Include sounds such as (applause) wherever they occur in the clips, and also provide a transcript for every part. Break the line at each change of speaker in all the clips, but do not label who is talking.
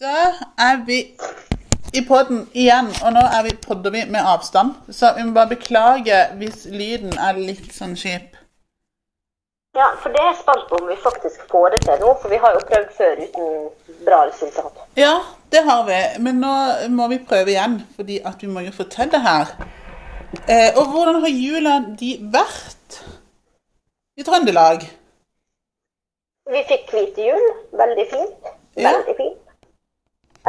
Da er vi i podden igjen, og nå er vi podder vi med avstand. Så vi må bare beklage hvis lyden er litt sånn kjip.
Ja, for det er jeg spent på om vi faktisk får det til nå, for vi har jo prøvd før uten bra resultat.
Ja, det har vi, men nå må vi prøve igjen, fordi at vi må jo få til det her. Eh, og hvordan har jula de vært i Trøndelag?
Vi fikk hvit jul, veldig fint.
Ja.
Veldig fint.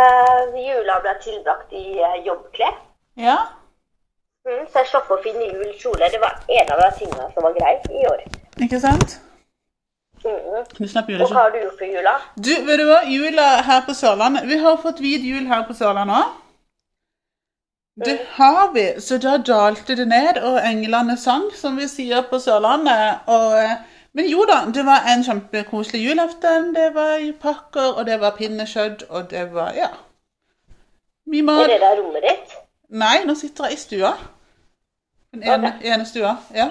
Eh, jula ble tilbrakt i eh, jobbklær,
Ja?
mm, så jeg slapp å finne julekjole. Det var en av de tingene som var greit i år.
Ikke sant?
Mm.
Du slapp
Og hva
julekjole.
har du gjort for jula?
Du, vet du hva? Jula her på Sørlandet Vi har fått hvit jul her på Sørlandet òg. Det har vi. Så da dalte det ned, og englene sang, som vi sier på Sørlandet. Og, eh, men jo da, det var en kjempekoselig julaften. Det var pakker, og det var pinnekjøtt, og det var Ja. Vi
Er
mat
det der rommet ditt?
Nei, nå sitter jeg i stua. Den ene, ene stua. Ja.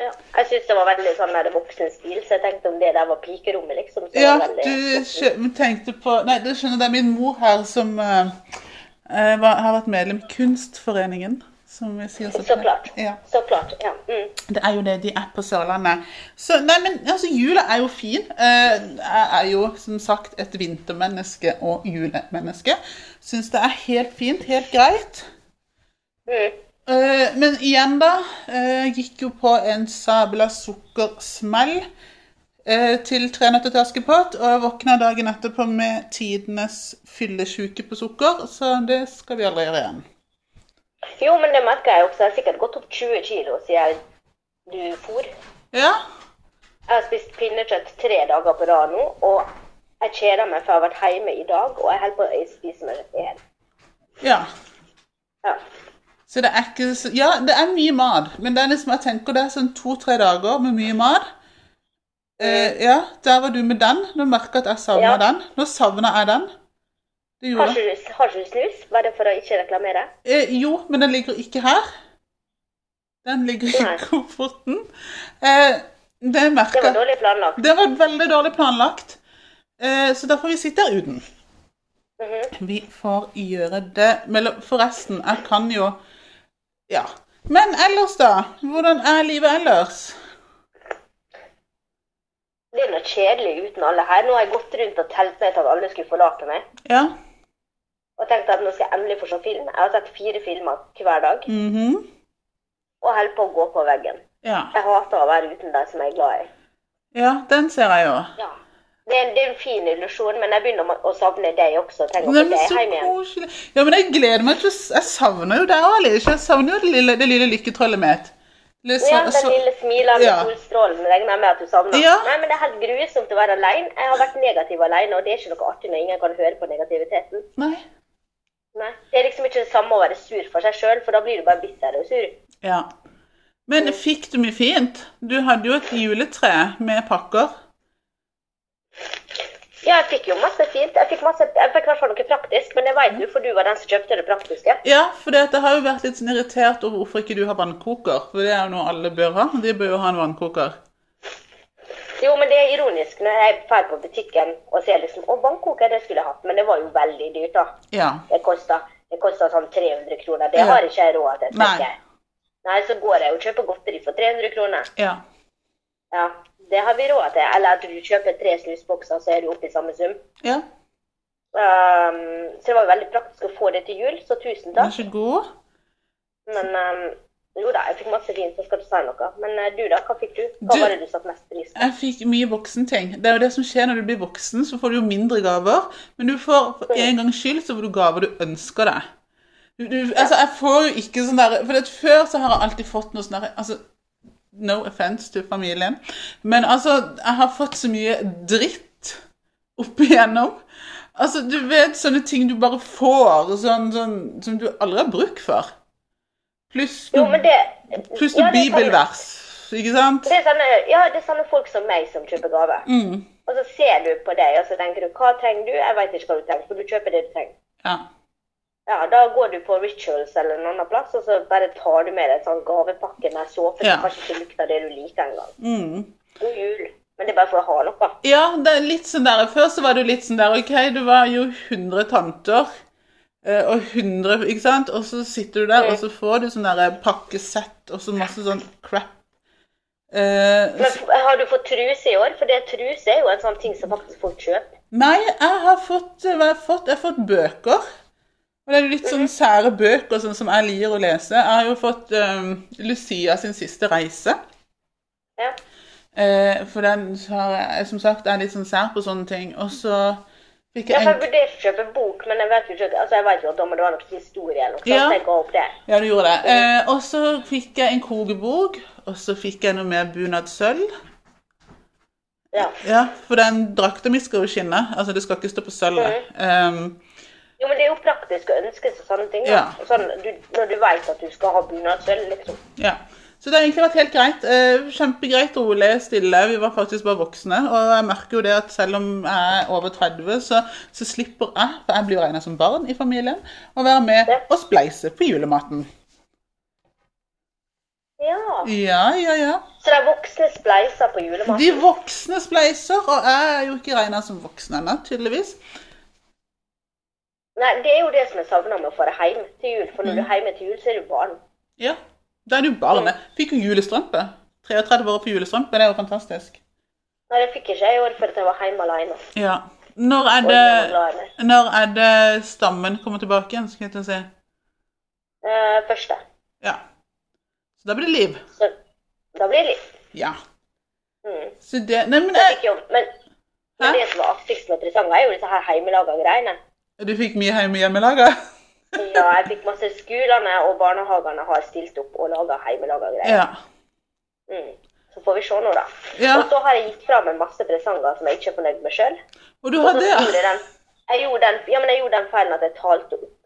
Ja. Jeg syns det var veldig sånn der voksen stil, så jeg tenkte om det der var pikerommet, liksom. Så
Ja,
var det
du
veldig...
skjø- tenkte på Nei, du skjønner, det er min mor her som eh, eh, var, har vært medlem i Kunstforeningen. Som vi sier så
Så klart.
Ja.
Så klart, ja. Mm.
Det er jo det de er på Sørlandet. Så nei, men altså, jula er jo fin. Eh, Jeg er jo som sagt et vintermenneske og julemenneske. Syns det er helt fint, helt greit.
Mm.
Eh, Men igjen, da. eh, Gikk jo på en sabla sukkersmell eh, til Tre nøtter til Askepott. Og jeg våkna dagen etterpå med tidenes fyllesjuke på sukker, så det skal vi aldri gjøre igjen.
Jo, men det merker jeg også. Jeg har sikkert gått opp 20 kilo siden du for.
Ja,
Jeg har spist pinnekjøtt tre dager på rad nå, og jeg kjeder meg for jeg har vært hjemme i dag, og jeg holder på å spise meg i hjel.
ja.
Ja.
Så det er ikke så Ja, det er mye mat, men det er liksom, jeg tenker det er sånn to-tre dager med mye mat. Eh, ja, der var du med den. Nå merker jeg at jeg savner
Mm. Ja.
den. Nå savner jeg den. Det gjorde
Har
jeg.
ikke du har ikke du snus? Var det for å ikke reklamere?
Eh, jo, men den ligger ikke her. Den ligger
Nei.
i (laughs) kofferten. Eh, det
Det
merker
var
jeg.
dårlig planlagt.
Det var veldig dårlig planlagt, eh, så da får vi sitte her uten.
Mhm.
Vi får gjøre det. Mellom- Forresten, jeg kan jo Ja. Men ellers, da? Hvordan er livet ellers?
Det er noe kjedelig uten alle her. Nå har jeg gått rundt og telt ned til at alle skulle forlate meg.
Ja.
Og tenkte at nå skal jeg endelig få se film. Jeg har sett fire filmer hver dag,
mhm.
og holder på å gå på veggen.
ja.
Jeg hater å være uten de som jeg er glad i.
Ja, den ser jeg jo.
Ja. Det er, det er en fin illusjon, men jeg begynner å- å savne deg også. Tenk om
Nei,
det
men
er
så
hjemme igjen.
koselig. Ja, men jeg gleder meg til å s- Jeg savner jo deg òg, Alice. Jeg savner jo det lille, det lille lykketrollet mitt. Det
Ja,
sa-
den
så-
lille smilende
Ja.
solstrålen regner jeg med at du savner.
Ja.
Nei, men det er helt grusomt å være alene. Jeg har vært negativ alene, og det er ikke noe artig når ingen kan høre på negativiteten.
Nei.
Nei. Det er liksom ikke det samme å være sur for seg sjøl, for da blir du bare bitter og sur.
Ja. Men fikk du mye fint? Du hadde jo et juletre med pakker.
Ja, jeg fikk jo masse fint. Jeg fikk masse, jeg fikk i hvert fall noe praktisk, men det veit du, for du var den som kjøpte det praktiske.
Ja, for det at jeg har jo vært litt sånn irritert over hvorfor ikke du har vannkoker. For det er jo noe alle bør ha. De bør jo ha en vannkoker.
Jo, men det er ironisk når jeg drar på butikken og ser liksom Å, vannkoker, det skulle jeg hatt, men det var jo veldig dyrt, da.
Ja.
Det kosta, det kosta sånn 300 kroner. Det
Ja.
har ikke jeg råd til,
Nei.
tenker jeg. Nei, så går jeg og kjøper godteri for 300 kroner.
Ja.
Ja, det har vi råd til. Eller at du kjøper tre snusbokser, så er du oppe i samme sum.
ja.
Ehm, så det var jo veldig praktisk å få det til jul, så tusen
Vær
takk.
så god.
Men ehm, jo da, jeg fikk masse fint, så skal du si noe. Men eh, du da, hva fikk du? Hva
Du-
var det du satte mest pris på?
Jeg fikk mye voksenting. Det er jo det som skjer når du blir voksen, så får du jo mindre gaver. Men du får for en gangs skyld så får du gaver du ønsker deg. Du, du, altså, jeg får jo ikke sånn der For at før så har jeg alltid fått noe sånn der altså, No offense til familien, men altså, jeg har fått så mye dritt opp igjennom. Altså, du vet sånne ting du bare får, sånn, sånn som du aldri har bruk for. Pluss
Jo, men
noe,
det
pluss noe
ja, det er sånn-
bibelvers, ikke sant?
Det er sånne, ja, det er sånne folk som meg som kjøper gave.
Mm,
Og så ser du på deg, og så tenker du, hva trenger du? Jeg vet ikke hva du trenger, for du kjøper det du trenger.
ja.
Ja, da går du på Rituals eller en annen plass, og så bare tar du med deg en sånn gavepakke med såpe som
Ja.
kanskje ikke lukter det du liker engang.
Mm.
God jul. Men det er bare for å ha noe.
Ja, det er litt sånn der. Før så var du litt sånn der OK, du var jo 100 tanter. eh, Og 100, ikke sant? Og så sitter du der, og så
Mm.
får du sånn der pakkesett og så masse sånn crap. Eh,
Men f- har du fått truse i år? For det truse er jo en sånn ting som faktisk folk kjøper.
Nei, jeg har fått, eh, hva har jeg fått? Jeg har fått bøker. Og det er jo litt sånn
Mhm.
sære bøker sånn som jeg liker å lese. Jeg har jo fått ehm, Lucia sin siste reise.
Ja.
Eh, for den har jeg, som sagt, er litt sånn sær på sånne ting. Og så fikk
Ja,
jeg
for jeg
en
vurderte å kjøpe bok, men jeg vet jo ikke, altså jeg vet jo at om det var noe historie eller noe, så
Ja.
jeg ga opp det.
Ja, du gjorde det. Eh, og så fikk jeg en kogebok. Og så fikk jeg noe mer bunad sølv.
Ja.
Ja, for den drakta mi skal jo skinne. Altså, det skal ikke stå på sølvet. Ehm,
Jo, men det er jo praktisk å ønske seg sånne ting. da.
Ja.
Og Sånn, du, når du vet at du skal ha bunadsølv, liksom.
Ja. Så det har egentlig vært helt greit. Eh, Kjempegreit, rolig, stille. Vi var faktisk bare voksne. Og jeg merker jo det at selv om jeg er over 30, så, så slipper jeg, for jeg blir jo regna som barn i familien, å være med
Ja.
og spleise på julematen.
Ja.
Ja, ja, ja.
Så de voksne spleiser på julemat.
De voksne spleiser, og jeg er jo ikke regna som voksen ennå, tydeligvis.
Nei, det er jo det som jeg savner med å få det hjem til jul. For når
Mm.
du er hjemme til jul, så er du barn.
Ja. Da er du barnet. Fikk jo julestrømpe. 33 år på julestrømpe, det er jo fantastisk.
Nei, det fikk ikke jeg i år fordi jeg var hjemme alene.
Ja. Når er
Og
det,
jeg var glad i meg.
når er det stammen kommer tilbake igjen, skal jeg til å si.
Eh, første.
Ja. Så da blir det liv.
Så da blir det litt.
Ja.
Mm.
Så det Nei, men
Så
jeg,
fikk jo, men,
Hæ?
men det som var artigst med Trisanga, er jo disse her hjemmelaga greiene.
du fikk mye hjemme hjemmelaga?
Ja, jeg fikk masse skolene og barnehagene har stilt opp og laga hjemmelaga greier.
Ja.
Mm. Så får vi se nå, da.
Ja.
Og så har jeg gitt fra meg masse presanger som jeg ikke er fornøyd med sjøl.
Og du
Og så
hadde
gjorde jeg den, jeg gjorde den, ja, men jeg gjorde den feilen at jeg talte opp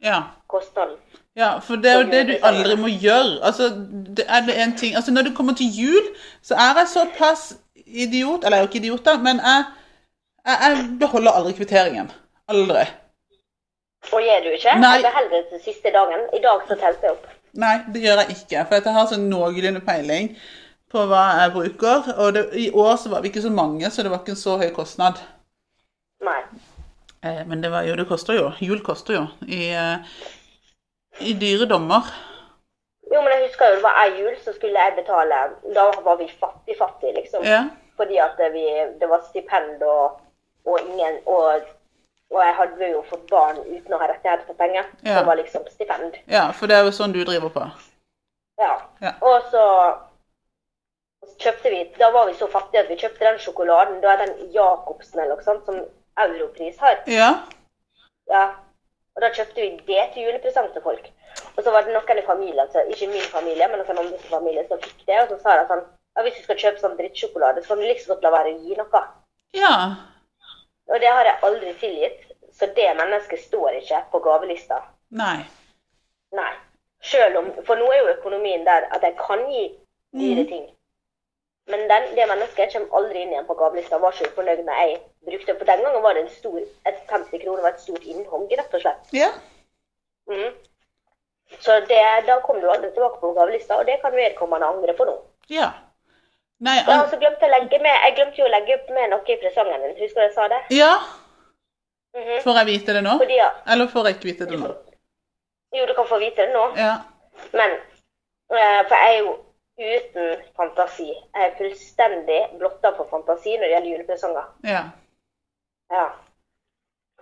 Ja.
kostnaden.
ja. For det er jo det du aldri må gjøre. Altså, det er det en ting Altså, når det kommer til jul, så er jeg såpass idiot Eller jeg er jo ikke idiot, da, men jeg, jeg, jeg beholder aldri kvitteringen. Aldri.
Og gjør du ikke?
Nei.
Jeg beholder det til siste dagen. I dag så telte jeg opp.
Nei, det gjør jeg ikke. For at jeg har sånn noenlunde peiling på hva jeg bruker. Og det, i år så var vi ikke så mange, så det var ikke en så høy kostnad.
Nei.
Eh, Men det, var jo, det koster jo. Jul koster jo. I, eh, i dyre dommer.
Jo, men jeg husker jo det var ei jul, så skulle jeg betale Da var vi fattig, fattig, liksom.
Ja.
Fordi at vi, det var stipend og, og ingen og, og jeg hadde jo fått barn uten å ha rettigheter på penger.
Ja.
Det var liksom stipend.
ja, for det er jo sånn du driver på.
Ja.
Ja.
Og så så kjøpte vi Da var vi så fattige at vi kjøpte den sjokoladen. Da er den Jacobsen eller noe sånt, som Europris har.
Ja.
Ja. Og da kjøpte vi det til julepresang til folk. Og så var det noen i familien, så, ikke min familie, men noen andre i familien som fikk det. Og så sa de sånn ja, Hvis du skal kjøpe sånn drittsjokolade, så kan du like så godt la være å gi noe.
Ja.
Og det har jeg aldri tilgitt. Så det mennesket står ikke på gavelista.
Nei.
Nei. Selv om, For nå er jo økonomien der at jeg kan gi dyre ting. Men den, det mennesket kommer aldri inn igjen på gavelista. Jeg Var ikke fornøyd når jeg brukte For den gangen var det en stor, et 50 kroner var et stort innhogg, rett og slett.
Ja.
Mhm. Så det, da kom du aldri tilbake på gavelista, og det kan vedkommende angre på nå.
Ja. Nei,
Ja, og
al
så glemte jeg, å legge med, jeg glemte jo å legge med noe i presangen din. Husker du jeg sa det?
ja.
Mhm.
Får jeg vite det nå?
Fordi, ja,
Eller får jeg ikke vite det nå?
Jo, du kan få vite det nå.
Ja.
Men eh, For jeg er jo uten fantasi. Jeg er fullstendig blotta for fantasi når det gjelder julepresanger.
Ja.
Ja.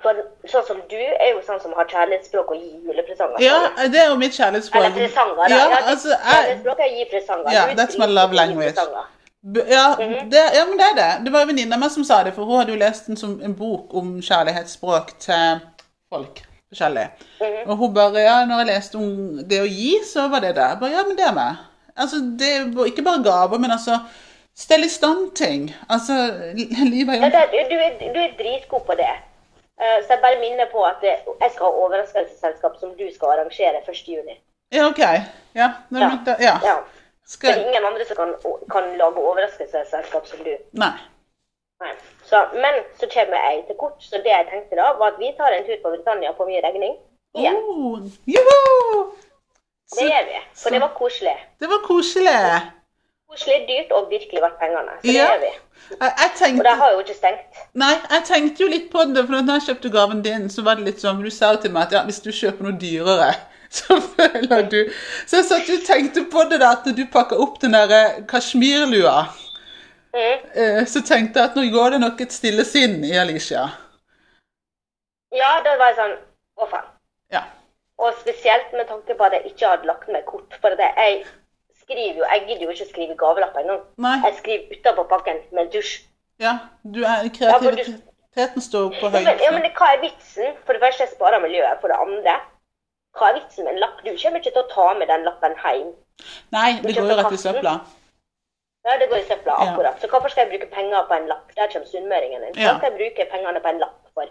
For sånn som du er jo sånn som har kjærlighetsspråk og gir julepresanger.
ja. Det er jo mitt
Eller
kjærlighetsspråk.
presanger, da.
Ja,
Ja,
altså, jeg
kjærlighetsspråk er å gi presanger.
Ja,
Du
that's my
driter
love
i å gi
language.
presanger.
B- Ja,
Mhm.
det, ja, men det er det. Det var en venninne av meg som sa det, for hun hadde jo lest en, som, en bok om kjærlighetsspråk til folk forskjellig.
Mhm.
Og hun bare Ja, når jeg leste om det å gi, så var det det. Jeg bare, ja, men det er meg. Altså, det er jo ikke bare gaver, men altså Stell i stand ting. Altså, livet er
Ja,
jo
det, du, er, du er dritgod på det. Eh, så jeg bare minner på at det, jeg skal ha overraskelsesselskap som du skal arrangere 1. juni.
Ja, OK. Ja. Nå,
Ja.
men da- ja.
Ja. Det er
Skal
ingen andre som kan, kan lage overraskelsesselskap som du.
Nei.
Nei. Så, men så kommer jeg til kort, så det jeg tenkte da, var at vi tar en tur på Britannia på min regning. Igjen.
Oh, Joho!
Det
Så
gjør vi.
så-
For det var koselig.
det var koselig.
koselig, dyrt og virkelig verdt pengene. Så det
Ja.
gjør vi.
Jeg, jeg
Og de
tenkte
har jo ikke stengt.
Nei, jeg tenkte jo litt på det, for når jeg kjøpte gaven din, så var det litt sånn Du sa jo til meg at ja, hvis du kjøper noe dyrere, (laughs) så føler du Så jeg satt jo og tenkte på det der at når du pakka opp den der eh, kasjmirlua,
Mm.
eh, så tenkte jeg at nå går det nok et stille sinn i Alicia.
Ja, da var jeg sånn Å, faen.
Ja.
Og spesielt med tanke på at jeg ikke hadde lagt med kort. For det, jeg skriver jo Jeg gidder jo ikke å skrive gavelapper engang.
Nei.
Jeg skriver utapå pakken med dusj.
Ja, du er
for du-
kreativiteten står på
Men, ja, men
høyden.
hva er vitsen? For det første, jeg sparer miljøet. For det andre, hva er vitsen med en lapp? Du kommer ikke til å ta med den lappen hjem.
Nei, det går jo rett i
kassen.
søpla.
Ja, det går i søpla,
Ja.
akkurat. Så hvorfor skal jeg bruke penger på en lapp? Der kommer sunnmøringen inn. Hva
Ja.
skal jeg bruke pengene på en lapp for?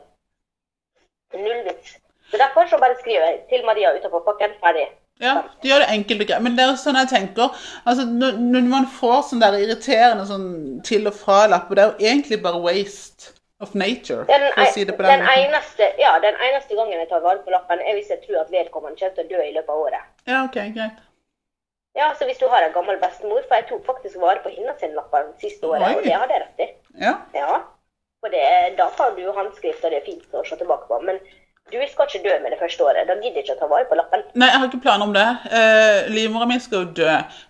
Null vits. Så derfor så bare skriver jeg til Maria utenfor pakken, ferdig.
Ja, de gjør det enkelt og greit. Men det er sånn jeg tenker. Altså, når, når man får sånn der irriterende sånn til og fra-lapper, det er jo egentlig bare waste of nature,
Den,
for å si det på den
den,
måten.
eneste, ja, den eneste gangen jeg tar vare på lappen, er hvis jeg tror at vedkommende kommer til å dø i løpet av året.
Ja, ok, greit.
Ja, så hvis du har en gammel bestemor, for jeg tok faktisk vare på hennes lapper siste året,
Oi.
og det hadde jeg rett i.
Ja.
Ja. For det, da får du jo håndskrift, og det er fint å se tilbake på. Men du skal ikke dø med det første året. Da gidder jeg ikke å ta vare på lappen.
Nei, jeg har ikke planer om det. Eh, Livmora mi skal jo dø.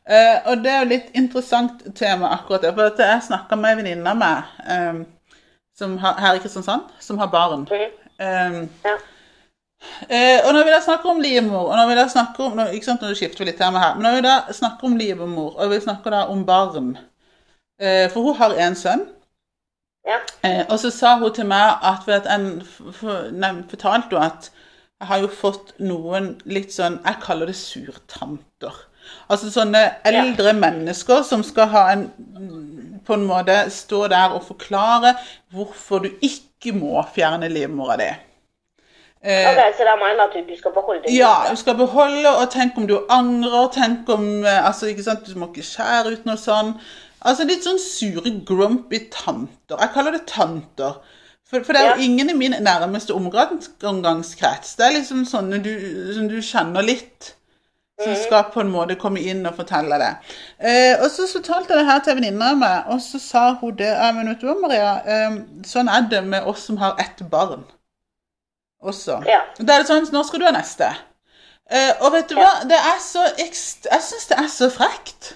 Eh, og det er jo litt interessant tema akkurat det. For at jeg snakka med ei venninne av meg eh, som har, her i Kristiansand, som har barn.
Mhm.
Eh,
Ja.
Eh, og når vi da snakker om livmor, og når vi da snakker om, nå- ikke sant, nå skifter vi litt tema her, men når vi da snakker om livmor, og vi snakker da om barn, eh, for hun har en sønn,
Ja.
eh, og så sa hun til meg at, for at en, for, nei, fortalte hun at jeg har jo fått noen litt sånn, jeg kaller det surtanter. Altså sånne eldre mennesker som skal ha en, på en måte stå der og forklare hvorfor du ikke må fjerne livmora di. Eh,
Ok, Så de mener at du- du skal beholde det?
ja, du skal beholde, og tenk om du angrer, tenk om eh, altså, ikke sant, Du må ikke skjære ut noe sånn. Altså litt sånn sure, grumpy tanter. Jeg kaller det tanter. For, for det er jo
Ja.
ingen i min nærmeste omgangs- omgangskrets. Det er liksom sånne du, som du kjenner litt, som
Eh.
skal på en måte komme inn og fortelle det. Eh, og så så talte jeg det her til en venninne av meg, og så sa hun det ja, men vet du hva, Maria, eh, sånn er det med oss som har ett barn også.
Ja.
Da er det sånn Når skal du ha neste? Eh, og vet du hva? Det er så ekst... Jeg syns det er så frekt.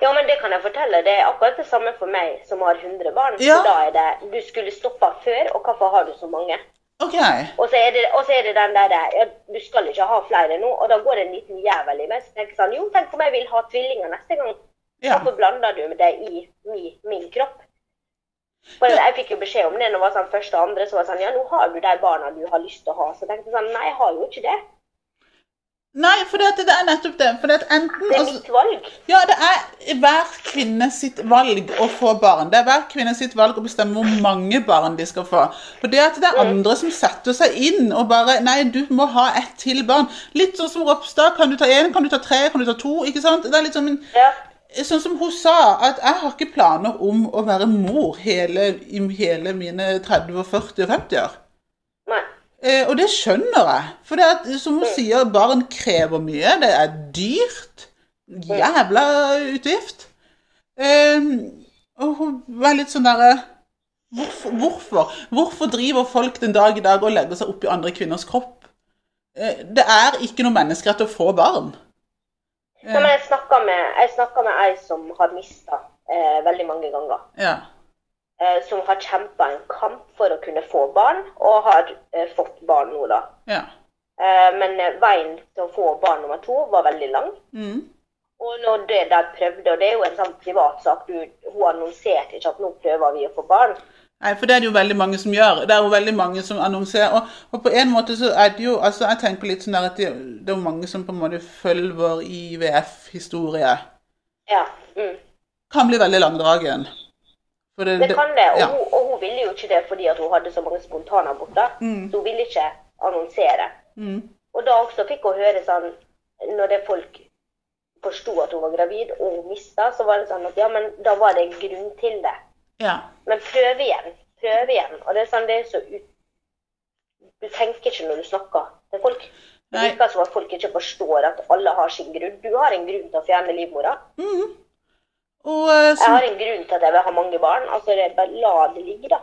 Ja, men det kan jeg fortelle. Det er akkurat det samme for meg som har 100 barn.
Ja.
Så da er det Du skulle stoppa før, og hvorfor har du så mange?
OK.
Og så er det, og så er det den derre ja, Du skal ikke ha flere nå. Og da går det en liten jævel i meg som tenker sånn Jo, tenk om jeg vil ha tvillinger neste gang.
Ja.
Hvorfor blander du det i mi, min kropp? For Jeg fikk jo beskjed om det når jeg var sånn første og andre. Så var det sånn, ja, nå har du de barna du har lyst til å ha. Så jeg tenkte jeg sånn, nei, jeg har jo ikke det.
Nei, for det, at det er nettopp det. For det at enten
Det er
altså,
mitt valg.
Ja, det er hver kvinne sitt valg å få barn. Det er hver kvinne sitt valg å bestemme hvor mange barn de skal få. For det at det er andre som setter seg inn og bare Nei, du må ha ett til barn. Litt sånn som Ropstad. Kan du ta én? Kan du ta tre? Kan du ta to? Ikke sant? Det er litt sånn en
Ja.
Sånn som hun sa, at jeg har ikke planer om å være mor hele, i hele mine 30, og 40 og 50 år.
Nei.
Eh, og det skjønner jeg. For det at, som hun sier, barn krever mye. Det er dyrt. Jævla utgift. Eh, og hun var litt sånn derre hvorfor, hvorfor? Hvorfor driver folk den dag i dag og legger seg opp i andre kvinners kropp? Eh, det er ikke noe menneskerett å få barn.
Nei, men jeg snakka med, jeg snakket med ei som har mista eh, veldig mange ganger.
Ja.
Eh, som har kjempa en kamp for å kunne få barn, og har eh, fått barn nå, da.
Ja.
Eh, men eh, veien til å få barn nummer to var veldig lang.
Mm.
Og når det der prøvde, og det er jo en sånn privatsak, du, hun annonserte ikke at nå prøver vi å få barn.
Nei, for det er det jo veldig mange som gjør. Det er jo veldig mange som annonserer. Og, og på en måte så er det jo altså Jeg tenker litt sånn der at det, det er jo mange som på en måte følger IVF-historie.
Ja. Mm.
Kan bli veldig langdragen. For
Det kan det, og,
Ja.
hun, og hun ville jo ikke det fordi at hun hadde så mange spontanaborter. Så hun ville ikke annonsere.
Mm.
Og da også fikk hun høre sånn, når det folk forsto at hun var gravid og hun mista, så var det sånn at ja, men da var det en grunn til det.
ja.
Men prøv igjen. Prøv igjen. Og det er sånn, det er så ut... Du tenker ikke når du snakker til folk. Det
Nei.
virker som at folk ikke forstår at alle har sin grunn. Du har en grunn til å fjerne livmora.
Og, eh,
Jeg
som,
har en grunn til at jeg vil ha mange barn. Altså, det er bare la det ligge, da.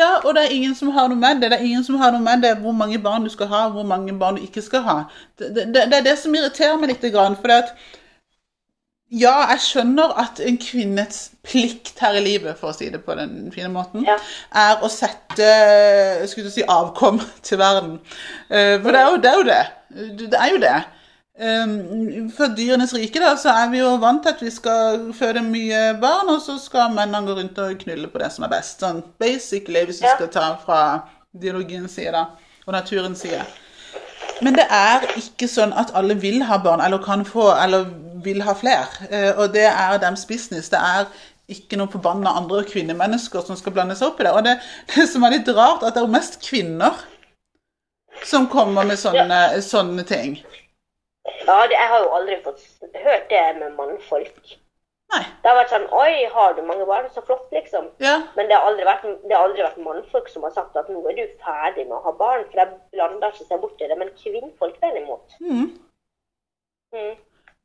ja, og det er ingen som har noe med det. Det er ingen som har noe med det hvor mange barn du skal ha, og hvor mange barn du ikke skal ha. Det, det, det det er det som irriterer meg litt. For det at, ja, jeg skjønner at en kvinnes plikt her i livet, for å si det på den fine måten,
Ja.
er å sette skulle du si, avkom til verden. Eh, For det er jo det. Er jo det. Du- det, er jo det. Um, For dyrenes rike da, så er vi jo vant til at vi skal føde mye barn, og så skal mennene gå rundt og knulle på det som er best. Sånn basically, hvis du
Ja.
skal ta fra biologiens side da, og naturens side. Men det er ikke sånn at alle vil ha barn, eller kan få, eller vil ha flere. Eh, Og det er deres business. Det er ikke noe forbanna andre kvinnemennesker som skal blande seg opp i det. Og det, det som er litt rart, at det er jo mest kvinner som kommer med sånne, sånne ting.
Ja, det, jeg har jo aldri fått s- hørt det med mannfolk.
Nei.
Det har vært sånn Oi, har du mange barn? Så flott, liksom.
Ja.
Men det har aldri vært, det har aldri vært mannfolk som har sagt at nå er du ferdig med å ha barn. For de blander ikke seg borti det. Men kvinnfolk, derimot.
Mm.
Mm.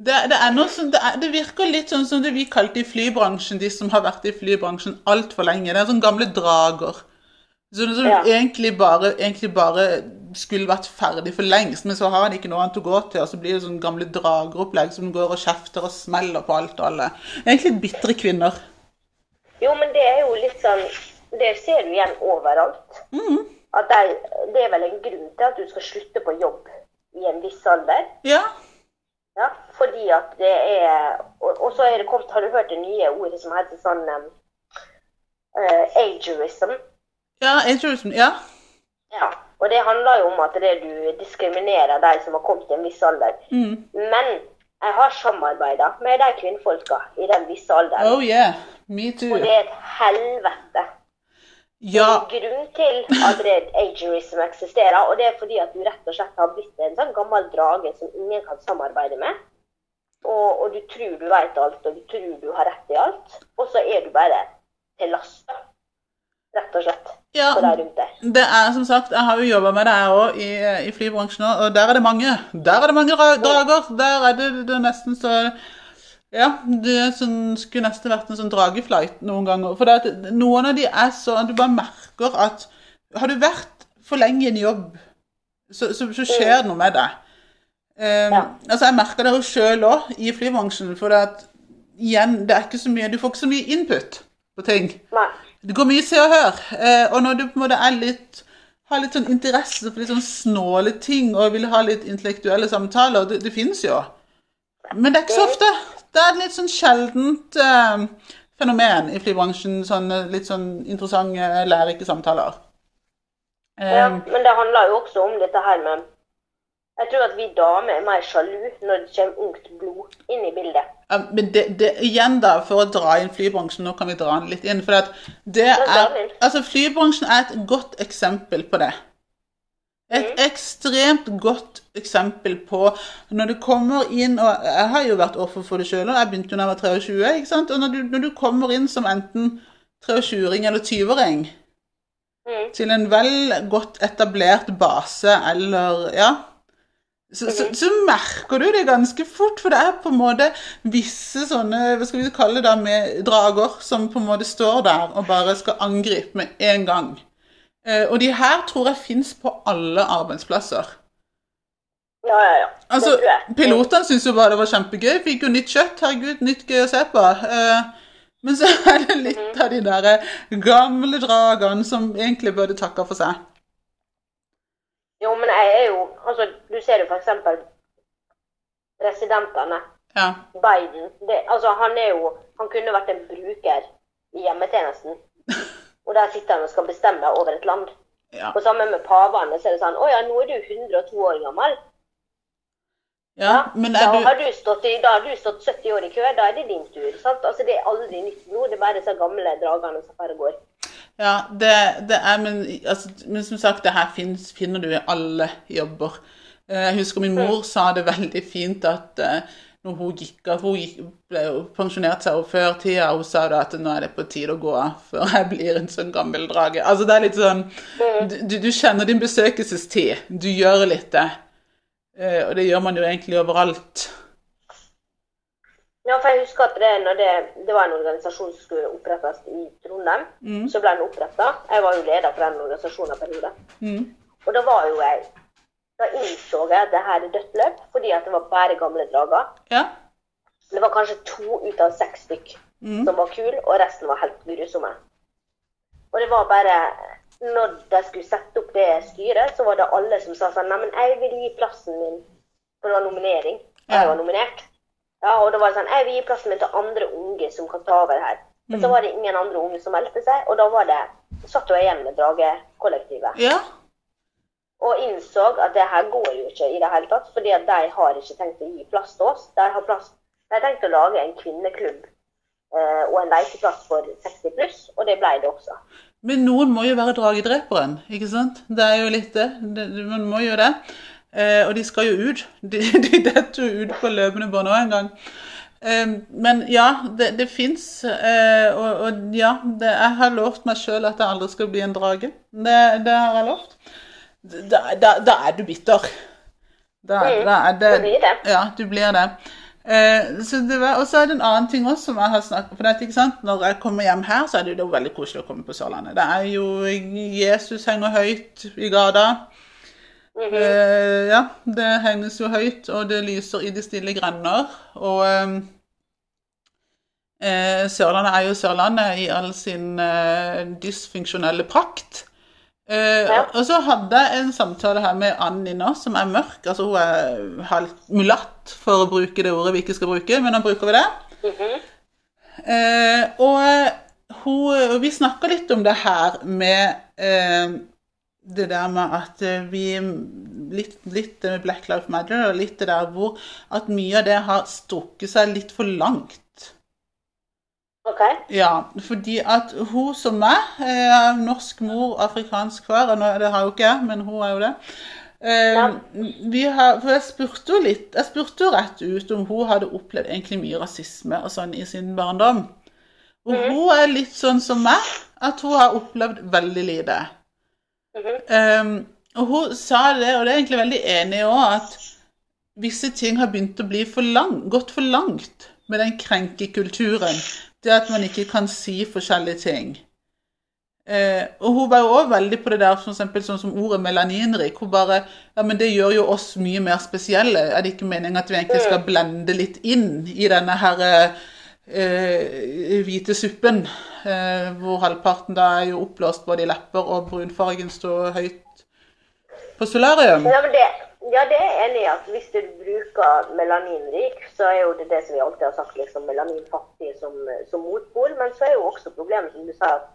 Det, det, er noe som, det, er, det virker litt sånn som det vi kalte i flybransjen, de som har vært i flybransjen altfor lenge. Det er sånne gamle drager. Sånne som
Ja.
egentlig, bare, egentlig bare skulle vært ferdig for lengst, men så har de ikke noe annet å gå til, og så blir det sånne gamle drageropplegg som går og kjefter og smeller på alt og alle. Egentlig bitre kvinner.
Jo, men det er jo litt sånn Det ser du igjen overalt. At de, det er vel en grunn til at du skal slutte på jobb i en viss alder.
Ja.
Ja, fordi at det er Og, og så er det kommet, har du hørt det nye ordet som heter sånn um, eh, ageism?
Ja, ageism. Ja.
Ja. Og det handler jo om at det er du diskriminerer de som har kommet til en viss alder.
Mm.
Men jeg har samarbeida med de kvinnfolka i den visse alderen.
Oh yeah. Me too.
Og det er et helvete.
Ja.
Grunnen til at det er ageism eksisterer, og det er fordi at du rett og slett har blitt en sånn gammel drage som ingen kan samarbeide med. Og, og du tror du vet alt, og du tror du har rett i alt. Og så er du bare til last, da. rett og slett,
ja.
for de rundt deg.
Det er som sagt, Jeg har jo jobba med det her òg, i, i flybransjen òg, og der er det mange. Der er det mange ra- drager. Der er det, det er nesten så Ja, det er sånn, skulle nesten vært en sånn drageflight noen ganger. For det at noen av de er sånn at du bare merker at Har du vært for lenge i en jobb, så, så, så skjer det noe med deg. Um,
Ja.
Altså, jeg merker det jo sjøl òg, i flybransjen, for det at igjen, det er ikke så mye Du får ikke så mye input på ting.
Nei.
Det går mye se og hør. eh, Og når du på en måte er litt har litt sånn interesse for litt sånn snåle ting og vil ha litt intellektuelle samtaler, det, det finnes jo. Men det er ikke så ofte. Det er et litt sånn sjeldent eh, fenomen i flybransjen. Sånne litt sånn interessante, lærerike samtaler.
Ja,
Eh,
men det handler jo også om dette her med Jeg tror at vi damer er mer sjalu når det kommer ungt blod inn i bildet.
ja, men det, det, igjen, da, for å dra inn flybransjen, nå kan vi dra den litt inn. For at det
drar
er
den inn.
Altså, flybransjen er et godt eksempel på det. Et ekstremt godt eksempel på når du kommer inn og Jeg har jo vært offer for det sjøl, og jeg begynte jo da jeg var 23. ikke sant? Og når du, når du kommer inn som enten 23-åring eller 20-åring
Mm.
til en vel godt etablert base eller Ja. Så, så, så merker du det ganske fort, for det er på en måte visse sånne Hva skal vi kalle det da, med drager som på en måte står der og bare skal angripe med en gang. Eh, og de her tror jeg fins på alle arbeidsplasser.
Ja, ja, ja. Det
Altså,
tror jeg.
Pilotene syntes jo bare det var kjempegøy. Fikk jo nytt kjøtt. Herregud, nytt gøy å se på. Eh, Men så er det litt
Mhm.
av de der eh, gamle dragene som egentlig burde takke for seg.
Jo, men jeg er jo Altså, du ser jo for eksempel presidentene.
Ja.
Biden. Det, altså, han er jo Han kunne vært en bruker i hjemmetjenesten. Og der sitter han og skal bestemme over et land.
Ja.
Og sammen med pavene så er det sånn Å ja, nå er du 102 år gammel.
ja. Men
da,
er du
har du stått i, da har du stått 70 år i kø. Da er det din tur. sant? Altså, Det er aldri nytt blod. Det er bare disse gamle dragene som bare går.
Ja, det, det er men, altså, men som sagt, det her finnes, finner du i alle jobber. Eh, Jeg husker min mor sa det veldig fint at eh, når hun gikk av Hun gikk, ble jo pensjonert seg jo før tida. Hun sa da at nå er det på tide å gå av før jeg blir en sånn gammel drage. Altså, det er litt sånn Du, du kjenner din besøkelsestid. Du gjør litt det. Eh, Og det gjør man jo egentlig overalt.
Ja, Ja, for jeg husker at det, når det, det var en organisasjon som skulle opprettes i Trondheim.
Mm.
Så ble den oppretta. Jeg var jo leder for den organisasjonen en periode.
Mm.
Og da var jo jeg Da innså jeg at det her er dødt løp, fordi at det var bare gamle drager.
Ja.
Det var kanskje to ut av seks stykk
Mm.
som var kule, og resten var helt grusomme. Og det var bare Når de skulle sette opp det styret, så var det alle som sa sånn Neimen, jeg vil gi plassen min For det var nominering. Og jeg
Ja.
var nominert. Ja, og da var det sånn Jeg vil gi plassen min til andre unge som kan ta over her. Men så
Mm.
var det ingen andre unge som meldte seg, og da var det satt jo jeg igjen med Dragekollektivet
Ja.
og innså at det her går jo ikke i det hele tatt. fordi at de har ikke tenkt å gi plass til oss. De har, plass, de har tenkt å lage en kvinneklubb eh, og en lekeplass for 60 pluss, og det ble det også.
Men noen må jo være dragedreperen, ikke sant? Det er jo litt det. det det- man må jo det. Eh, og de skal jo ut. De, (laughs) de detter jo ut på løpende bånd òg en gang. Eh, men ja, det, det fins. Eh, og, og ja, det, jeg har lovt meg sjøl at jeg aldri skal bli en drage. Det, det har jeg lovt. Da, da, da er du bitter. Da,
Mm,
da er det,
du blir det.
Ja, du blir det. Eh, så det var, og så er det en annen ting også som jeg har snakket for dette, ikke sant? Når jeg kommer hjem her, så er det jo da veldig koselig å komme på Sørlandet. Det er jo Jesus henger høyt i gata.
Mhm.
Eh, ja, det henges jo høyt, og det lyser i de stille grender. Og ehm, eh, Sørlandet er jo Sørlandet i all sin eh, dysfunksjonelle prakt. Eh,
Ja.
Og så hadde jeg en samtale her med Anni nå, som er mørk. Altså hun er halvt mulatt, for å bruke det ordet vi ikke skal bruke, men nå bruker vi det.
Mhm.
Eh, og hun, og vi snakka litt om det her med eh, det der med at eh, vi litt, litt det med Black Lives Matter og litt det der hvor at mye av det har strukket seg litt for langt.
OK.
Ja, fordi at hun som meg, eh, norsk mor, afrikansk far, og nå, det har jo ikke jeg, men hun er jo det. Eh,
Ja.
vi har, for jeg spurte jo litt, jeg spurte jo rett ut om hun hadde opplevd egentlig mye rasisme og sånn i sin barndom. Og
Mhm.
hun er litt sånn som meg, at hun har opplevd veldig lite.
Mhm.
Ehm, og hun sa det, og det er jeg egentlig veldig enig i òg, at visse ting har begynt å bli for lang, gått for langt med den krenkekulturen. Det at man ikke kan si forskjellige ting. Eh, og hun var jo òg veldig på det der for eksempel, sånn som ordet melaninrik. Hun bare Ja, men det gjør jo oss mye mer spesielle. Er det ikke meningen at vi egentlig skal blende litt inn i denne her eh, hvite suppen? Eh, hvor halvparten da er jo oppblåst både i lepper, og brunfargen står høyt på solarium.
Ja, men det, ja, det er jeg enig i at hvis du bruker melaninrik, så er jo det det som vi alltid har sagt, liksom melaninfattig som, som motpol. Men så er jo også problemet, som du sa, at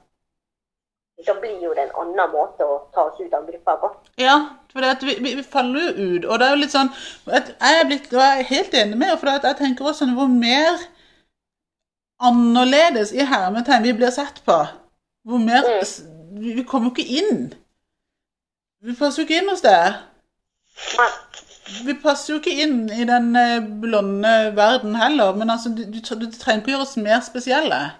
da blir jo det en annen måte å ta oss ut av gruppa på.
Ja, for det at vi, vi, vi faller jo ut, og det er jo litt sånn at Jeg er blitt, og jeg er helt enig med deg, for det at jeg tenker også sånn hvor mer annerledes i hermetegn vi blir sett på, hvor mer
Mm.
s- Vi vi kommer jo ikke inn. Vi passer jo ikke inn hos deg.
Men,
Vi passer jo ikke inn i den eh, blonde verden heller, men altså, du, du, du trenger ikke å gjøre oss mer spesielle.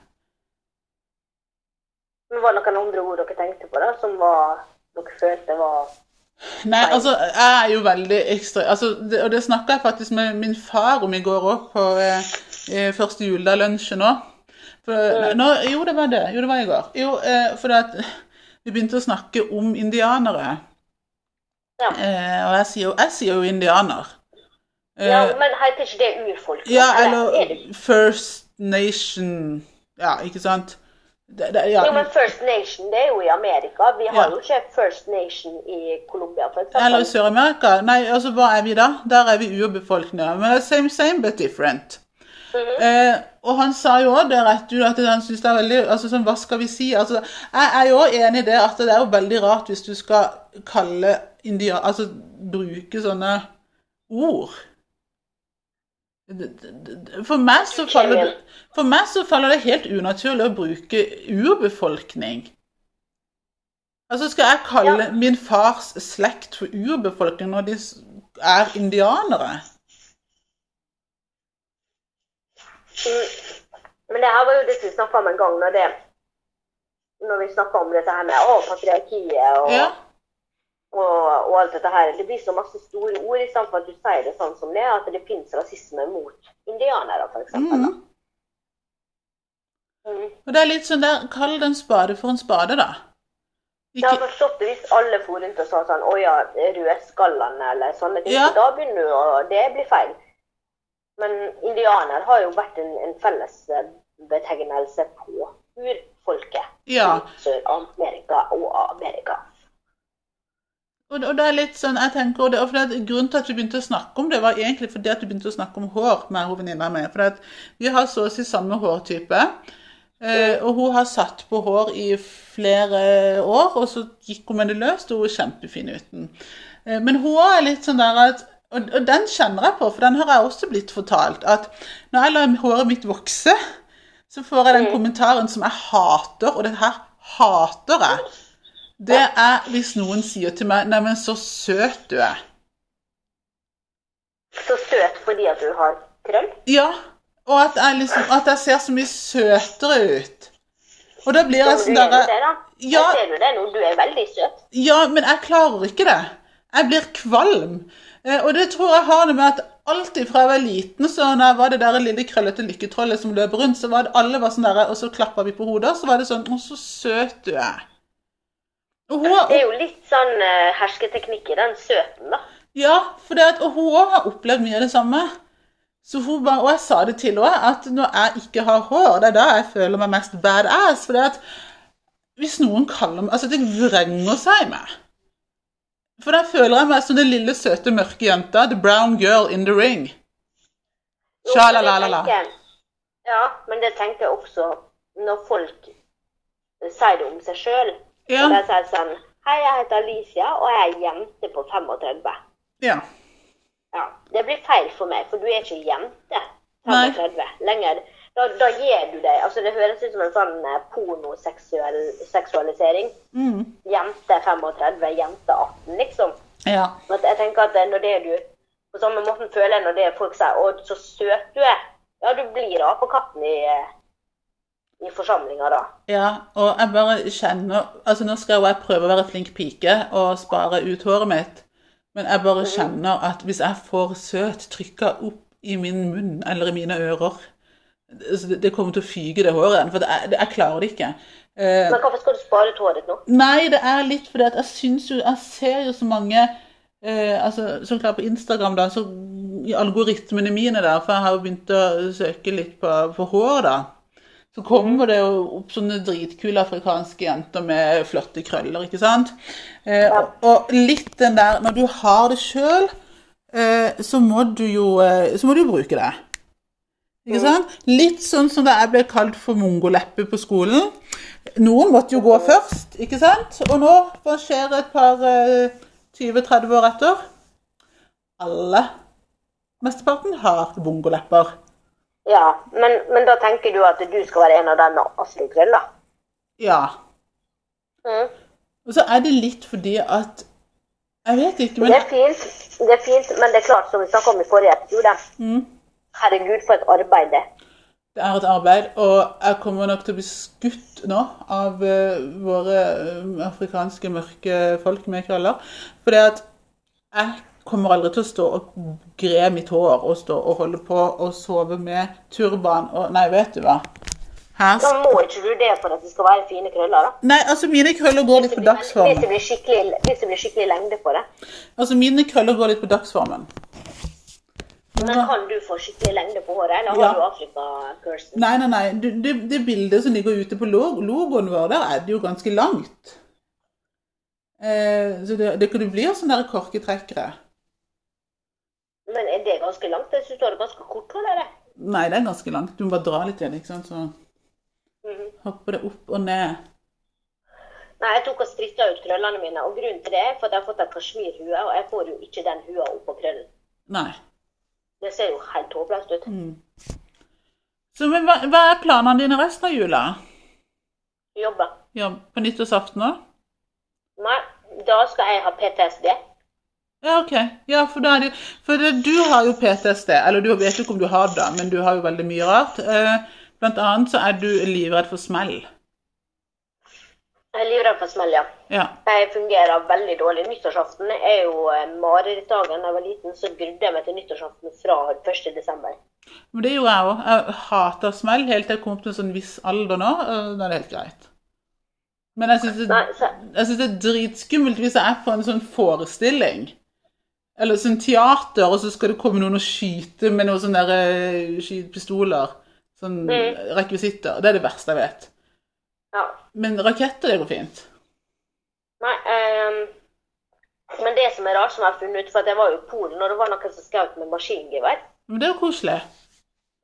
Men var det noen andre ord dere tenkte på da, som var, dere følte var
Nei, altså, jeg er jo veldig ekstra altså, det, Og det snakka jeg faktisk med min far om i går òg, på eh, eh, første juledag-lunsjen òg. Nå, jo, det var det. Jo, det var i går. Jo, eh, for det at vi begynte å snakke om indianere.
Ja.
Eh, og jeg sier jo, jeg sier jo indianer. Eh,
Ja, men heter ikke det urfolk? da?
ja,
er
eller
det-
First Nation Ja, ikke sant? Det, det, ja.
Jo, men First Nation, det er jo i Amerika. Vi har
Ja.
jo ikke First Nation i Colombia, for eksempel.
Eller i Sør-Amerika. Nei, altså hva er vi da? Der er vi urbefolkninga. Men det er same, same but different.
Mhm.
Eh, og han sa jo òg det rett ut, at han synes det er veldig altså sånn, Hva skal vi si? Altså, jeg er jo også enig i det at det er jo veldig rart hvis du skal kalle india... Altså bruke sånne ord. Det- det- det- For meg, så faller det, for meg så faller det helt unaturlig å bruke urbefolkning. Altså Skal jeg kalle
Ja.
min fars slekt for urbefolkning når de s- er indianere?
Mm. Men det her var jo det vi snakket om en gang, når, det, når vi snakket om dette her med å, patriarkiet og,
Ja.
og, og og alt dette her. Det blir så masse store ord istedenfor at du sier det sånn som det er, at det finnes rasisme mot indianere, f.eks. Mm.
Mm. Og det er litt sånn der Kall det en spade for en spade, da.
Jeg har
Ikke,
forstått det hvis alle for rundt og sa sånn Å ja, rødskallene eller sånne ting.
Ja.
Da begynner du å Det blir feil. Men indianer har jo vært en, en felles eh, betegnelse på urfolket.
ja.
i Sør-Amerika og Amerika.
Og, og det er litt sånn, jeg tenker, og det, og for det, at Grunnen til at vi begynte å snakke om det, var egentlig fordi at vi begynte å snakke om hår. med hun venninna mi. For at vi har så å si samme hårtype. Eh, og hun har satt på hår i flere år, og så gikk hun med det løst, og hun er kjempefin uten. Eh, men hun også er litt sånn der at og, og den kjenner jeg på, for den har jeg også blitt fortalt. At når jeg lar håret mitt vokse, så får jeg den kommentaren som jeg hater, og det her hater jeg. Det er hvis noen sier til meg 'Neimen, så søt du er'.
Så søt fordi at du har krøll.
Ja. Og at jeg, liksom, at jeg ser så mye søtere ut. Og da blir jeg
Som
sånn
du er nå
derre
det, da.
ja.
Da ser du det nå. Du er veldig søt.
Ja, men jeg klarer ikke det. Jeg blir kvalm. Eh, Og det tror jeg har det med at alltid fra jeg var liten, så når jeg var det der lille krøllete lykketrollet som løp rundt, så var det alle var sånn der, og så klappa vi på hodet, og så var det sånn 'Å, så søt du er'. Og hun, har-
Det er jo litt sånn eh, hersketeknikk i den søten, da.
Ja, for det at, og hun også har opplevd mye av det samme. Så hun bare, og jeg sa det til henne, at når jeg ikke har hår, det er da jeg føler meg mest badass. For det at hvis noen kaller meg Altså, det vrenger seg i meg. For da føler jeg meg som den lille, søte, mørke jenta. The brown girl in the ring.
Jo, men det
Sjalalala.
tenker- Ja, men det tenker jeg også når folk sier det om seg sjøl.
Ja.
De sier sånn Hei, jeg heter Alicia, og jeg er ei jente på 35.
ja.
Ja, Det blir feil for meg, for du er ikke jente
Nei.
35 lenger. Da, da gir du deg Altså, det høres ut som en sånn eh, pornoseksuell seksualisering.
Mm.
Jente 35, jente 18, liksom.
Ja.
Men jeg tenker at når det er du På samme måten føler jeg når det er folk sier 'Å, så søt du er'. Ja, du blir apekatten i, eh, i forsamlinga da.
Ja, og jeg bare kjenner Altså, nå skal jo jeg prøve å være flink pike og spare ut håret mitt, men jeg bare kjenner at hvis jeg får søt trykka opp i min munn eller i mine ører så Det det kommer til å fyke, det håret. igjen, For det er, det, jeg klarer det ikke. Eh,
Men hvorfor skal du spare ut håret nå?
Nei, det er litt fordi at jeg syns jo Jeg ser jo så mange eh, altså, Så klart på Instagram, da, så i algoritmene mine der, for jeg har jo begynt å søke litt på, på hår, da. Så kommer det jo opp sånne dritkule afrikanske jenter med flotte krøller, ikke sant. Eh, og, og litt den der Når du har det sjøl, eh, så må du jo eh, Så må du jo bruke det. Ikke sant? Litt sånn som da jeg ble kalt for mongoleppe på skolen. Noen måtte jo gå først, ikke sant? Og nå, hva skjer et par eh, 20-30 år etter? Alle, mesteparten, har mongolepper.
Ja, men, men da tenker du at du skal være en av dem med Astrid Krøll, da?
Ja.
Mm.
Og så er det litt fordi at Jeg vet ikke,
Det
men
er fint, det er fint, men det er klart, som vi snakket om i forrige episode
Mm.
Herregud, for et arbeid det er.
Det er et arbeid, og jeg kommer nok til å bli skutt nå av eh, våre eh, afrikanske mørke folk med krøller. For det at jeg kommer aldri til å stå og gre mitt hår og stå og holde på og sove med turban og Nei, vet du hva. Her
Da
sk-
må ikke du det for at det skal være fine krøller, da.
Nei, altså mine krøller går
Hvis
litt på
det blir, hvis det
dagsformen.
blir, skikkelig, hvis det blir skikkelig lengde på det.
Altså mine krøller går litt på dagsformen.
Men kan du få skikkelig lengde på håret, eller
Ja.
har du Afrika-cursen?
Nei, nei, nei. Du- Det, det bildet som ligger ute på lo- logoen vår, der er det jo ganske langt. Eh, så det, det kunne bli sånne der korketrekkere.
Men er det ganske langt? Jeg synes du har det ganske kort hår, eller?
Nei, det er ganske langt. Du må bare dra litt igjen, ikke sant? Så
Mhm.
hopper det opp og ned.
Nei, jeg tok og stritta ut krøllene mine, og grunnen til det er for at jeg har fått en kasjmirhue, og jeg får jo ikke den hua opp på krøllen.
Nei.
Det ser jo helt håpløst ut.
Så men hva, hva er planene dine resten av jula?
Jobber.
Ja, på nyttårsaften òg?
Nei, da skal jeg ha PTSD.
Ja, OK. Ja, for da er det For det, du har jo PTSD. Eller du vet jo ikke om du har det, men du har jo veldig mye rart. Eh, blant annet så er du livredd for smell.
Jeg er livredd for smell, ja.
Ja.
Jeg fungerer veldig dårlig. Nyttårsaften er jo eh, marerittdagen. Da jeg var liten, så grudde jeg meg til nyttårsaften fra 1. desember.
Men det er jo jeg òg. Jeg hater smell helt til jeg kom til en sånn viss alder nå. øh, Da er det helt greit. Men jeg syns det,
Nei, så,
jeg synes det er dritskummelt hvis jeg er på en sånn forestilling. Eller sånn teater, og så skal det komme noen og skyte med noen sånne der, øh, skytepistoler. Sånn
Mm.
rekvisitter. Det er det verste jeg vet.
ja.
Men raketter, det går fint.
Nei, ehm, men det som er rart, som jeg har funnet ut, for at jeg var jo i Polen, og det var noen som skjøt med maskingevær.
Men det er jo koselig.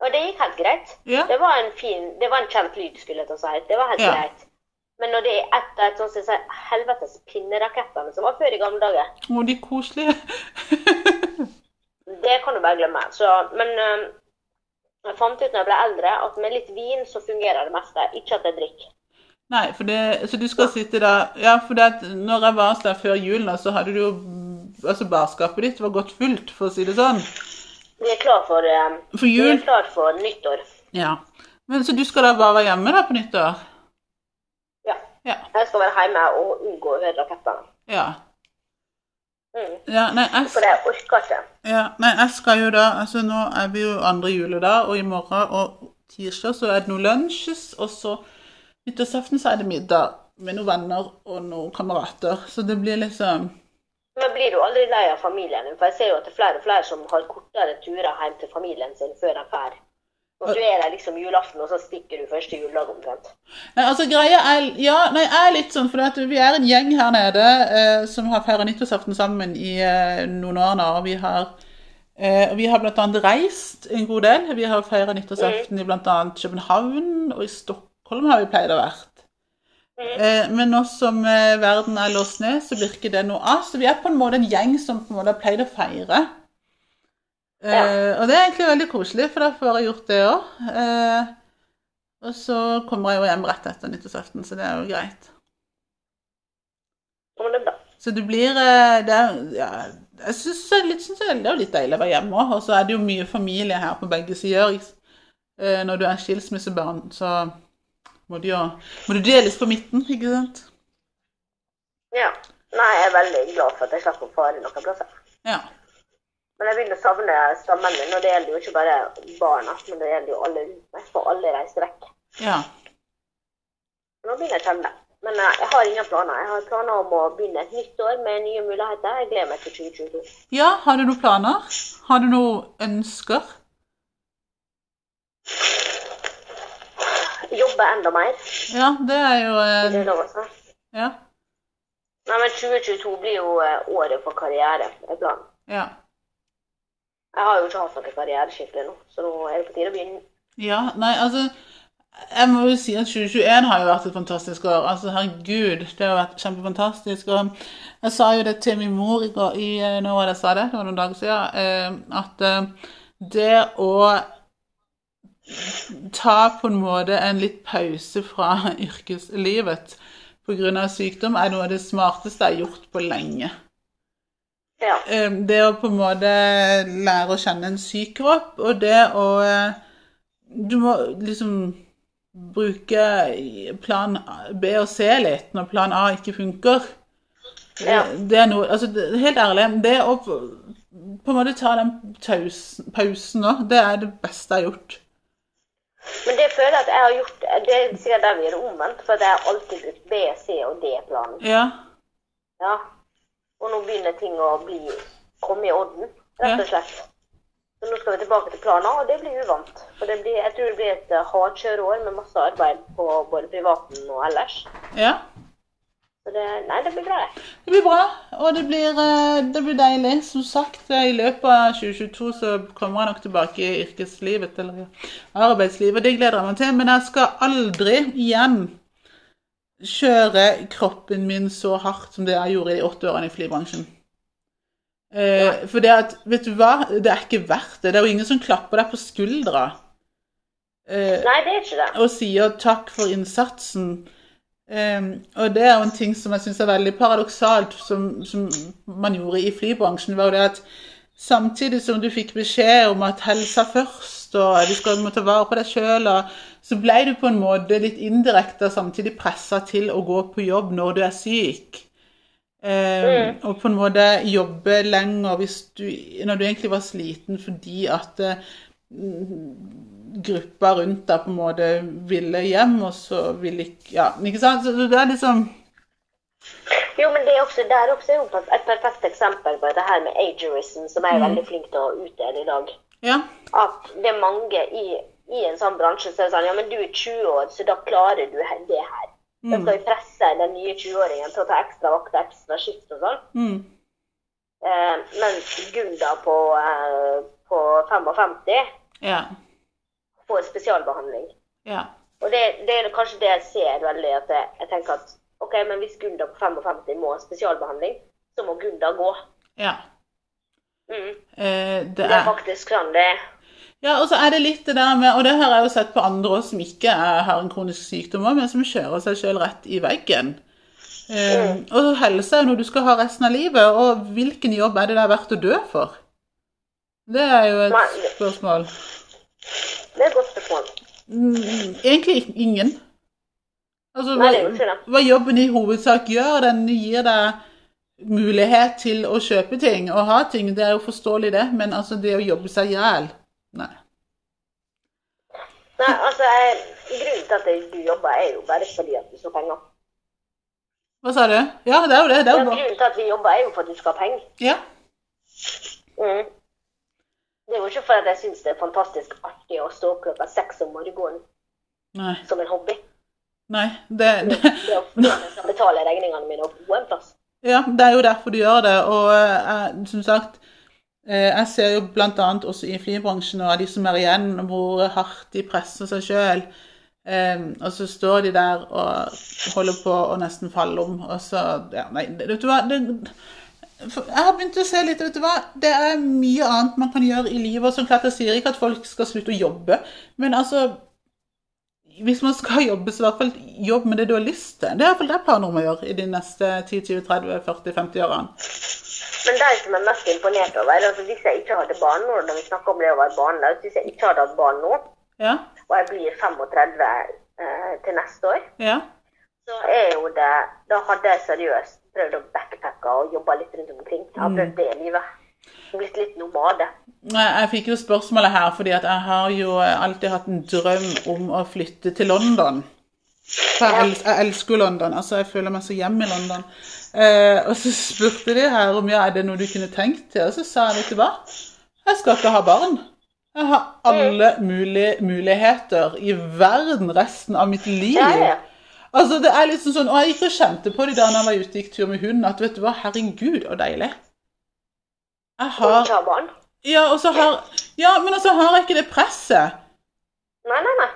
Og det gikk helt greit.
Ja.
Det var en fin, det var en kjent lyd, skulle jeg til å si. Det var helt
Ja.
greit. Men når det er ett av et sånt, så er det sånn, helvetes pinnerakettene som var før i gamle dager,
Å, de er koselige.
det kan du bare glemme. Så, men ehm, jeg fant ut når jeg ble eldre, at med litt vin så fungerer det meste. Ikke at jeg drikker.
Nei, for det, så du skal sitte der Ja, for det at når jeg var hos deg før jul, nå, så hadde du jo Altså, barskapet ditt var godt fullt, for å si det sånn.
Vi er klar for, ehm,
For
vi er
jul.
klar for nyttår.
Ja. Men så du skal da bare være hjemme da på nyttår?
Ja.
Ja.
Jeg skal være hjemme og unngå å høre rakettene.
Ja.
Mm.
ja nei, jeg,
For jeg orker ikke.
ja, nei, jeg skal jo da Altså, nå er vi jo andre juledag, og i morgen og tirsdag så er det noe lunsjes, og så nyttårsaften så er det middag med noen venner og noen kamerater. Så det blir liksom
Men blir du aldri lei av familien din? For jeg ser jo at det er flere og flere som har kortere turer hjem til familien sin før de drar. Og du er der liksom julaften, og så stikker du første juledag omtrent.
Nei, altså greia er Ja, nei, jeg er litt sånn, for at vi er en gjeng her nede eh, som har feira nyttårsaften sammen i eh, noen år nå. og Vi har, eh, og vi har bl.a. reist en god del. Vi har feira nyttårsaften i bl.a. København, og i Stockholm har vi pleid å vært. Eh, men nå som eh, verden er låst ned, så blir ikke det noe av. Så vi er på en måte en gjeng som på en måte har pleid å feire. Eh, Og det er egentlig veldig koselig, for da får jeg gjort det òg. Eh, og så kommer jeg jo hjem rett etter nyttårsaften, så det er jo greit.
Ja, Men det er bra.
Så det blir eh, det er, ja, Jeg syns det er litt, synes jeg det er jo litt deilig å være hjemme òg. Og så er det jo mye familie her på begge sider. ikke s- eh, Når du er skilsmissebarn, så må du jo må du deles på midten, ikke sant?
Ja. Nei, jeg er veldig glad for at jeg slapp å fare noen plasser.
Ja.
Men jeg begynner å savne stammen min, og det gjelder jo ikke bare barna, men det gjelder jo alle rundt meg, for alle reiser vekk.
Ja.
Nå begynner jeg å kjenne det. Men eh, jeg har ingen planer. Jeg har planer om å begynne et nytt år med nye muligheter. Jeg gleder meg til 2022.
Ja, har du noen planer? Har du noen ønsker?
Jobbe enda mer,
Ja, det er jo eh,
det er lov å si.
Ja.
Nei, men 2022 blir jo eh, året for karriere, er planen.
Ja.
Jeg har jo ikke hatt noen karriere skikkelig nå, så nå er det på tide å begynne.
ja nei, altså Jeg må jo si at 2021 har jo vært et fantastisk år. Altså, herregud, det har vært kjempefantastisk. Og jeg sa jo det til min mor i går i, eh, Når var det jeg sa det? Det var noen dager siden. eh, At eh, det å ta på en måte en litt pause fra (laughs) yrkeslivet pga. sykdom, er noe av det smarteste jeg har gjort på lenge.
Ja.
Eh, det å på en måte lære å kjenne en syk kropp, og det å eh, Du må liksom bruke plan B og C litt når plan A ikke funker.
Ja.
Eh, Det er noe Altså, det, helt ærlig, det å på på en måte ta den tausen, pausen nå, det er det beste jeg har gjort.
Men det føler jeg at jeg har gjort, det er sikkert der vi er omvendt, for at jeg har alltid brukt B, C og D-planen.
Ja.
Ja. Og nå begynner ting å bli, komme i orden, rett og slett. Så nå skal vi tilbake til planen, og det blir uvant. For det blir, jeg tror det blir et eh, hardkjøreår med masse arbeid på både privaten og ellers.
ja.
Så det, nei, det blir bra, det.
Det blir bra, og det blir, eh, det blir deilig. Som sagt, eh, i løpet av 2022 så kommer jeg nok tilbake i yrkeslivet eller i arbeidslivet. Det gleder jeg meg til, men jeg skal aldri igjen kjøre kroppen min så hardt som det jeg gjorde i de åtte årene i flybransjen. Eh, for det at, vet du hva, det er ikke verdt det. Det er jo ingen som klapper deg på skuldra eh,
Nei, det er ikke det.
og sier takk for innsatsen. Ehm, og det er jo en ting som jeg syns er veldig paradoksalt, som, som man gjorde i flybransjen, var jo det at samtidig som du fikk beskjed om at helsa først, kunst, og du skal må ta vare på deg sjøl. Så ble du på en måte litt indirekte og samtidig pressa til å gå på jobb når du er syk. Eh, Og på en måte jobbe lenger hvis du, når du egentlig var sliten fordi at eh, gruppa rundt deg på en måte ville hjem, og så ville ikke Ja, ikke sant? Så det er liksom
Jo, men det er også, der også er jo perf- et perfekt eksempel på det her med agerism, som jeg er veldig flink til å utdele i dag.
Ja.
At det er mange i, i en sånn bransje som er sånn Ja, men du er 20 år, så da klarer du he- det her. Da skal vi presse den nye 20-åringen til å ta ekstra vakt, ekstra skift og sånn.
Mm.
Eh, mens Gunda på, eh, på 55
Ja.
får spesialbehandling.
Ja.
Og det, det er kanskje det jeg ser veldig, at jeg, jeg tenker at ok, men hvis Gunda på 55 må ha spesialbehandling, så må Gunda gå.
ja.
Mm.
Eh, det
Det er
er
faktisk sånn det er.
Ja, og så er det litt det der med, og det har jeg jo sett på andre også, som ikke er, har en kronisk sykdom, også, men som kjører seg selv rett i veggen. Eh,
Mm.
og helse er jo noe du skal ha resten av livet, og hvilken jobb er det det er verdt å dø for? Det er jo et
Nei.
spørsmål.
Det er et godt spørsmål.
Mm, Egentlig ik- ingen. Altså,
Nei, det er jo ikke
hva,
det.
hva jobben i hovedsak gjør, den gir deg mulighet til å kjøpe ting og ha ting, det er jo forståelig det, men altså det å jobbe seg ihjel, nei.
Nei, altså, jeg, grunnen til at du jobber, er jo bare fordi at du skal ha penger.
Hva sa du? Ja, det er jo det, det er
Ja,
jo bra.
grunnen til at vi jobber, er jo for at du skal ha penger.
Ja.
Mm. Det er jo ikke for at jeg syns det er fantastisk artig å stå opp klokka seks om morgenen
Nei.
som en hobby.
Nei. Det, det,
Det er jo fordi jeg skal betale regningene mine og bo en plass.
ja, det er jo derfor du gjør det. Og eh, jeg, som sagt, eh, jeg ser jo bl.a. også i flybransjen og av de som er igjen, hvor hardt de presser seg sjøl. og så står de der og holder på å nesten falle om, og så ja, Nei, det- vet du hva det, for Jeg har begynt å se litt, vet du hva Det er mye annet man kan gjøre i livet. og Som klart, jeg sier ikke at folk skal slutte å jobbe, men altså hvis man skal (laughs) jobbe, så i hvert fall jobb med det du har lyst til. Det er i hvert fall det jeg planer om å gjøre i de neste 10-20-30-40-50 årene.
Men det som jeg er mest imponert over, er altså hvis jeg ikke hadde barn nå, når vi snakker om det å være barnløs Hvis jeg ikke hadde hatt barn nå,
Ja,
og jeg blir 35 eh, til neste år,
ja,
så er jo det Da hadde jeg seriøst prøvd å backpacke og jobbe litt rundt omkring. Jeg har prøvd det livet. Blitt litt nomade.
Nei, Jeg fikk jo spørsmålet her fordi at jeg har jo alltid hatt en drøm om å flytte til London. For jeg, els jeg elsker jo London. altså Jeg føler meg så hjemme i London. Eh, og så spurte de her om ja, er det noe du kunne tenkt til, og så sa jeg vet du hva, jeg skal ikke ha barn. Jeg har
Mm.
alle mulige muligheter i verden resten av mitt liv.
Ja, ja.
Altså, det er liksom sånn, og Jeg gikk og kjente på det da når jeg var ute og gikk tur med hunden, at vet du hva, herregud, så deilig. Jeg
Og
har
ikke ha barn.
Ja, og så har Ja, men altså har jeg ikke det presset.
Nei, nei, nei.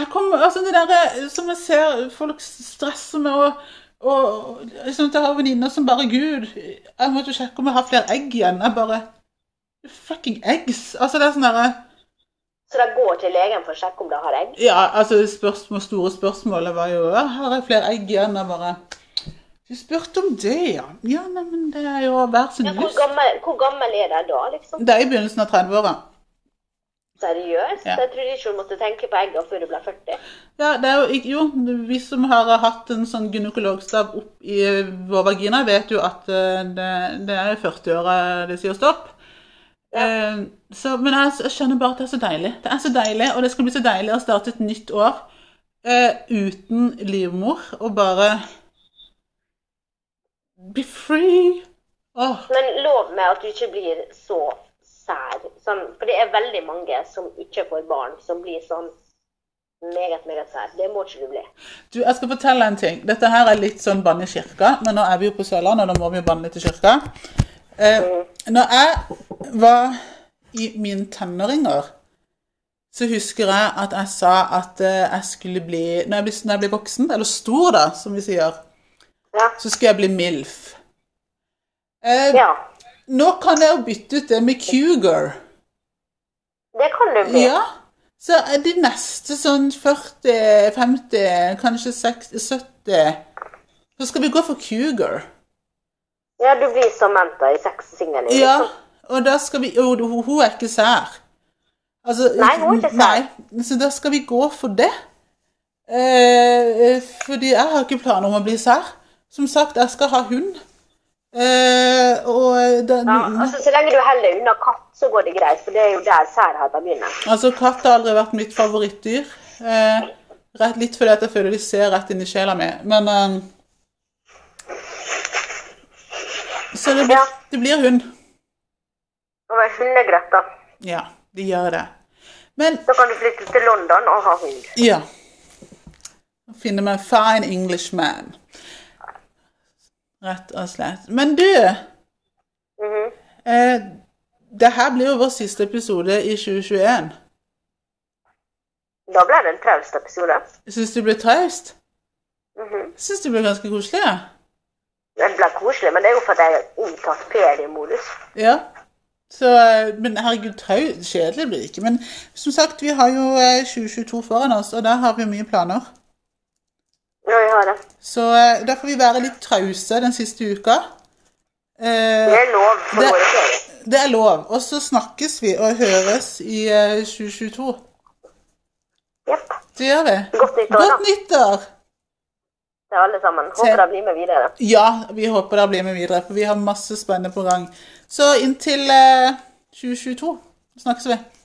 Jeg kommer, altså det der som jeg ser folk stresser med og, og liksom, Jeg har venninner som bare Gud, jeg måtte sjekke om jeg har flere egg igjen. Jeg bare Fucking eggs. Altså det er sånn derre
Så de går til legen for å sjekke om de har egg?
Ja, altså spørsmål, store spørsmålet var jo «Ja, Har jeg flere egg igjen? Jeg bare Du spurte om det, ja. Ja, neimen det er jo hver sin
Ja, hvor,
lyst.
gammel, hvor gammel er de da, liksom?
Det er i begynnelsen av 30-åra.
Seriøst?
Ja.
Jeg trodde ikke du måtte tenke på egga før du ble 40.
Ja, det er jo, ikke- jo, vi som har hatt en sånn gynekologstav opp i vår vagina, vet jo at eh, det, det er 40-åra det sier stopp. Eh, Så, men jeg, jeg skjønner bare at det er så deilig. Det er så deilig, og det skal bli så deilig å starte et nytt år eh, uten livmor og bare Be free! Åh,
Men lov meg at du ikke blir så sær. Sånn, for det er veldig mange som ikke får barn, som blir sånn meget, meget sær. Det må ikke du bli.
Du, jeg skal fortelle en ting. Dette her er litt sånn bann i kirka, men nå er vi jo på Sørlandet, og nå må vi jo banne litt i kirka. Eh, når jeg var i mine tenåringer, så husker jeg at jeg sa at eh, jeg skulle bli når jeg, blir, når jeg blir voksen, eller stor, da, som vi sier,
Ja.
så skal jeg bli MILF. Eh,
ja.
Nå kan jeg jo bytte ut det med Cougar.
Det kan du bli.
Ja. Så er de neste sånn 40, 50, kanskje 60, 70 Så skal vi gå for Cougar.
Ja, du blir som jenta i sexsingelen. Liksom.
Ja. Og da skal vi Og hun hun er ikke sær. Altså,
Nei, hun er ikke sær.
nei. Så da skal vi gå for det. Eh, eh, fordi jeg har ikke planer om å bli sær. Som sagt, jeg skal ha hund. Eh, og den,
Ja, altså, så lenge du heller unna katt, så går det greit, for det er jo der særheten begynner.
Altså, katt har aldri vært mitt favorittdyr. Eh, rett litt fordi at jeg føler de ser rett inn i sjela mi, men eh, Så det, blir-
Ja.
det blir hund.
Og med hundegrøtt, da.
Ja, de gjør det. Men
Da kan du flytte til London og ha hund.
ja Finne meg en fine Englishman. Rett og slett. Men du
Mhm.
eh, Det her blir jo vår siste episode i 2021.
Da ble det en traust episode.
Syns du det ble traust?
Mhm.
Syns det ble ganske koselig? Ja.
Den ble koselig, men det er jo fordi jeg er inntatt feriemodus.
Ja. Så, eh, men herregud, trau- kjedelig blir det ikke. Men som sagt, vi har jo eh, 2022 foran oss, og da har vi jo mye planer.
Ja, jeg har det.
Så eh, da får vi være litt trause den siste uka.
Det
Eh,
er lov for
Det-
våre ferie.
det er lov. Og så snakkes vi og høres i eh, 2022.
Jepp.
Det gjør vi.
Godt nyttår, da.
Godt nyttår!
Til alle sammen.
Se.
Håper dere blir med videre.
Ja, vi håper det blir med videre, for vi har masse spennende på gang. Så inntil eh, 2022 snakkes vi.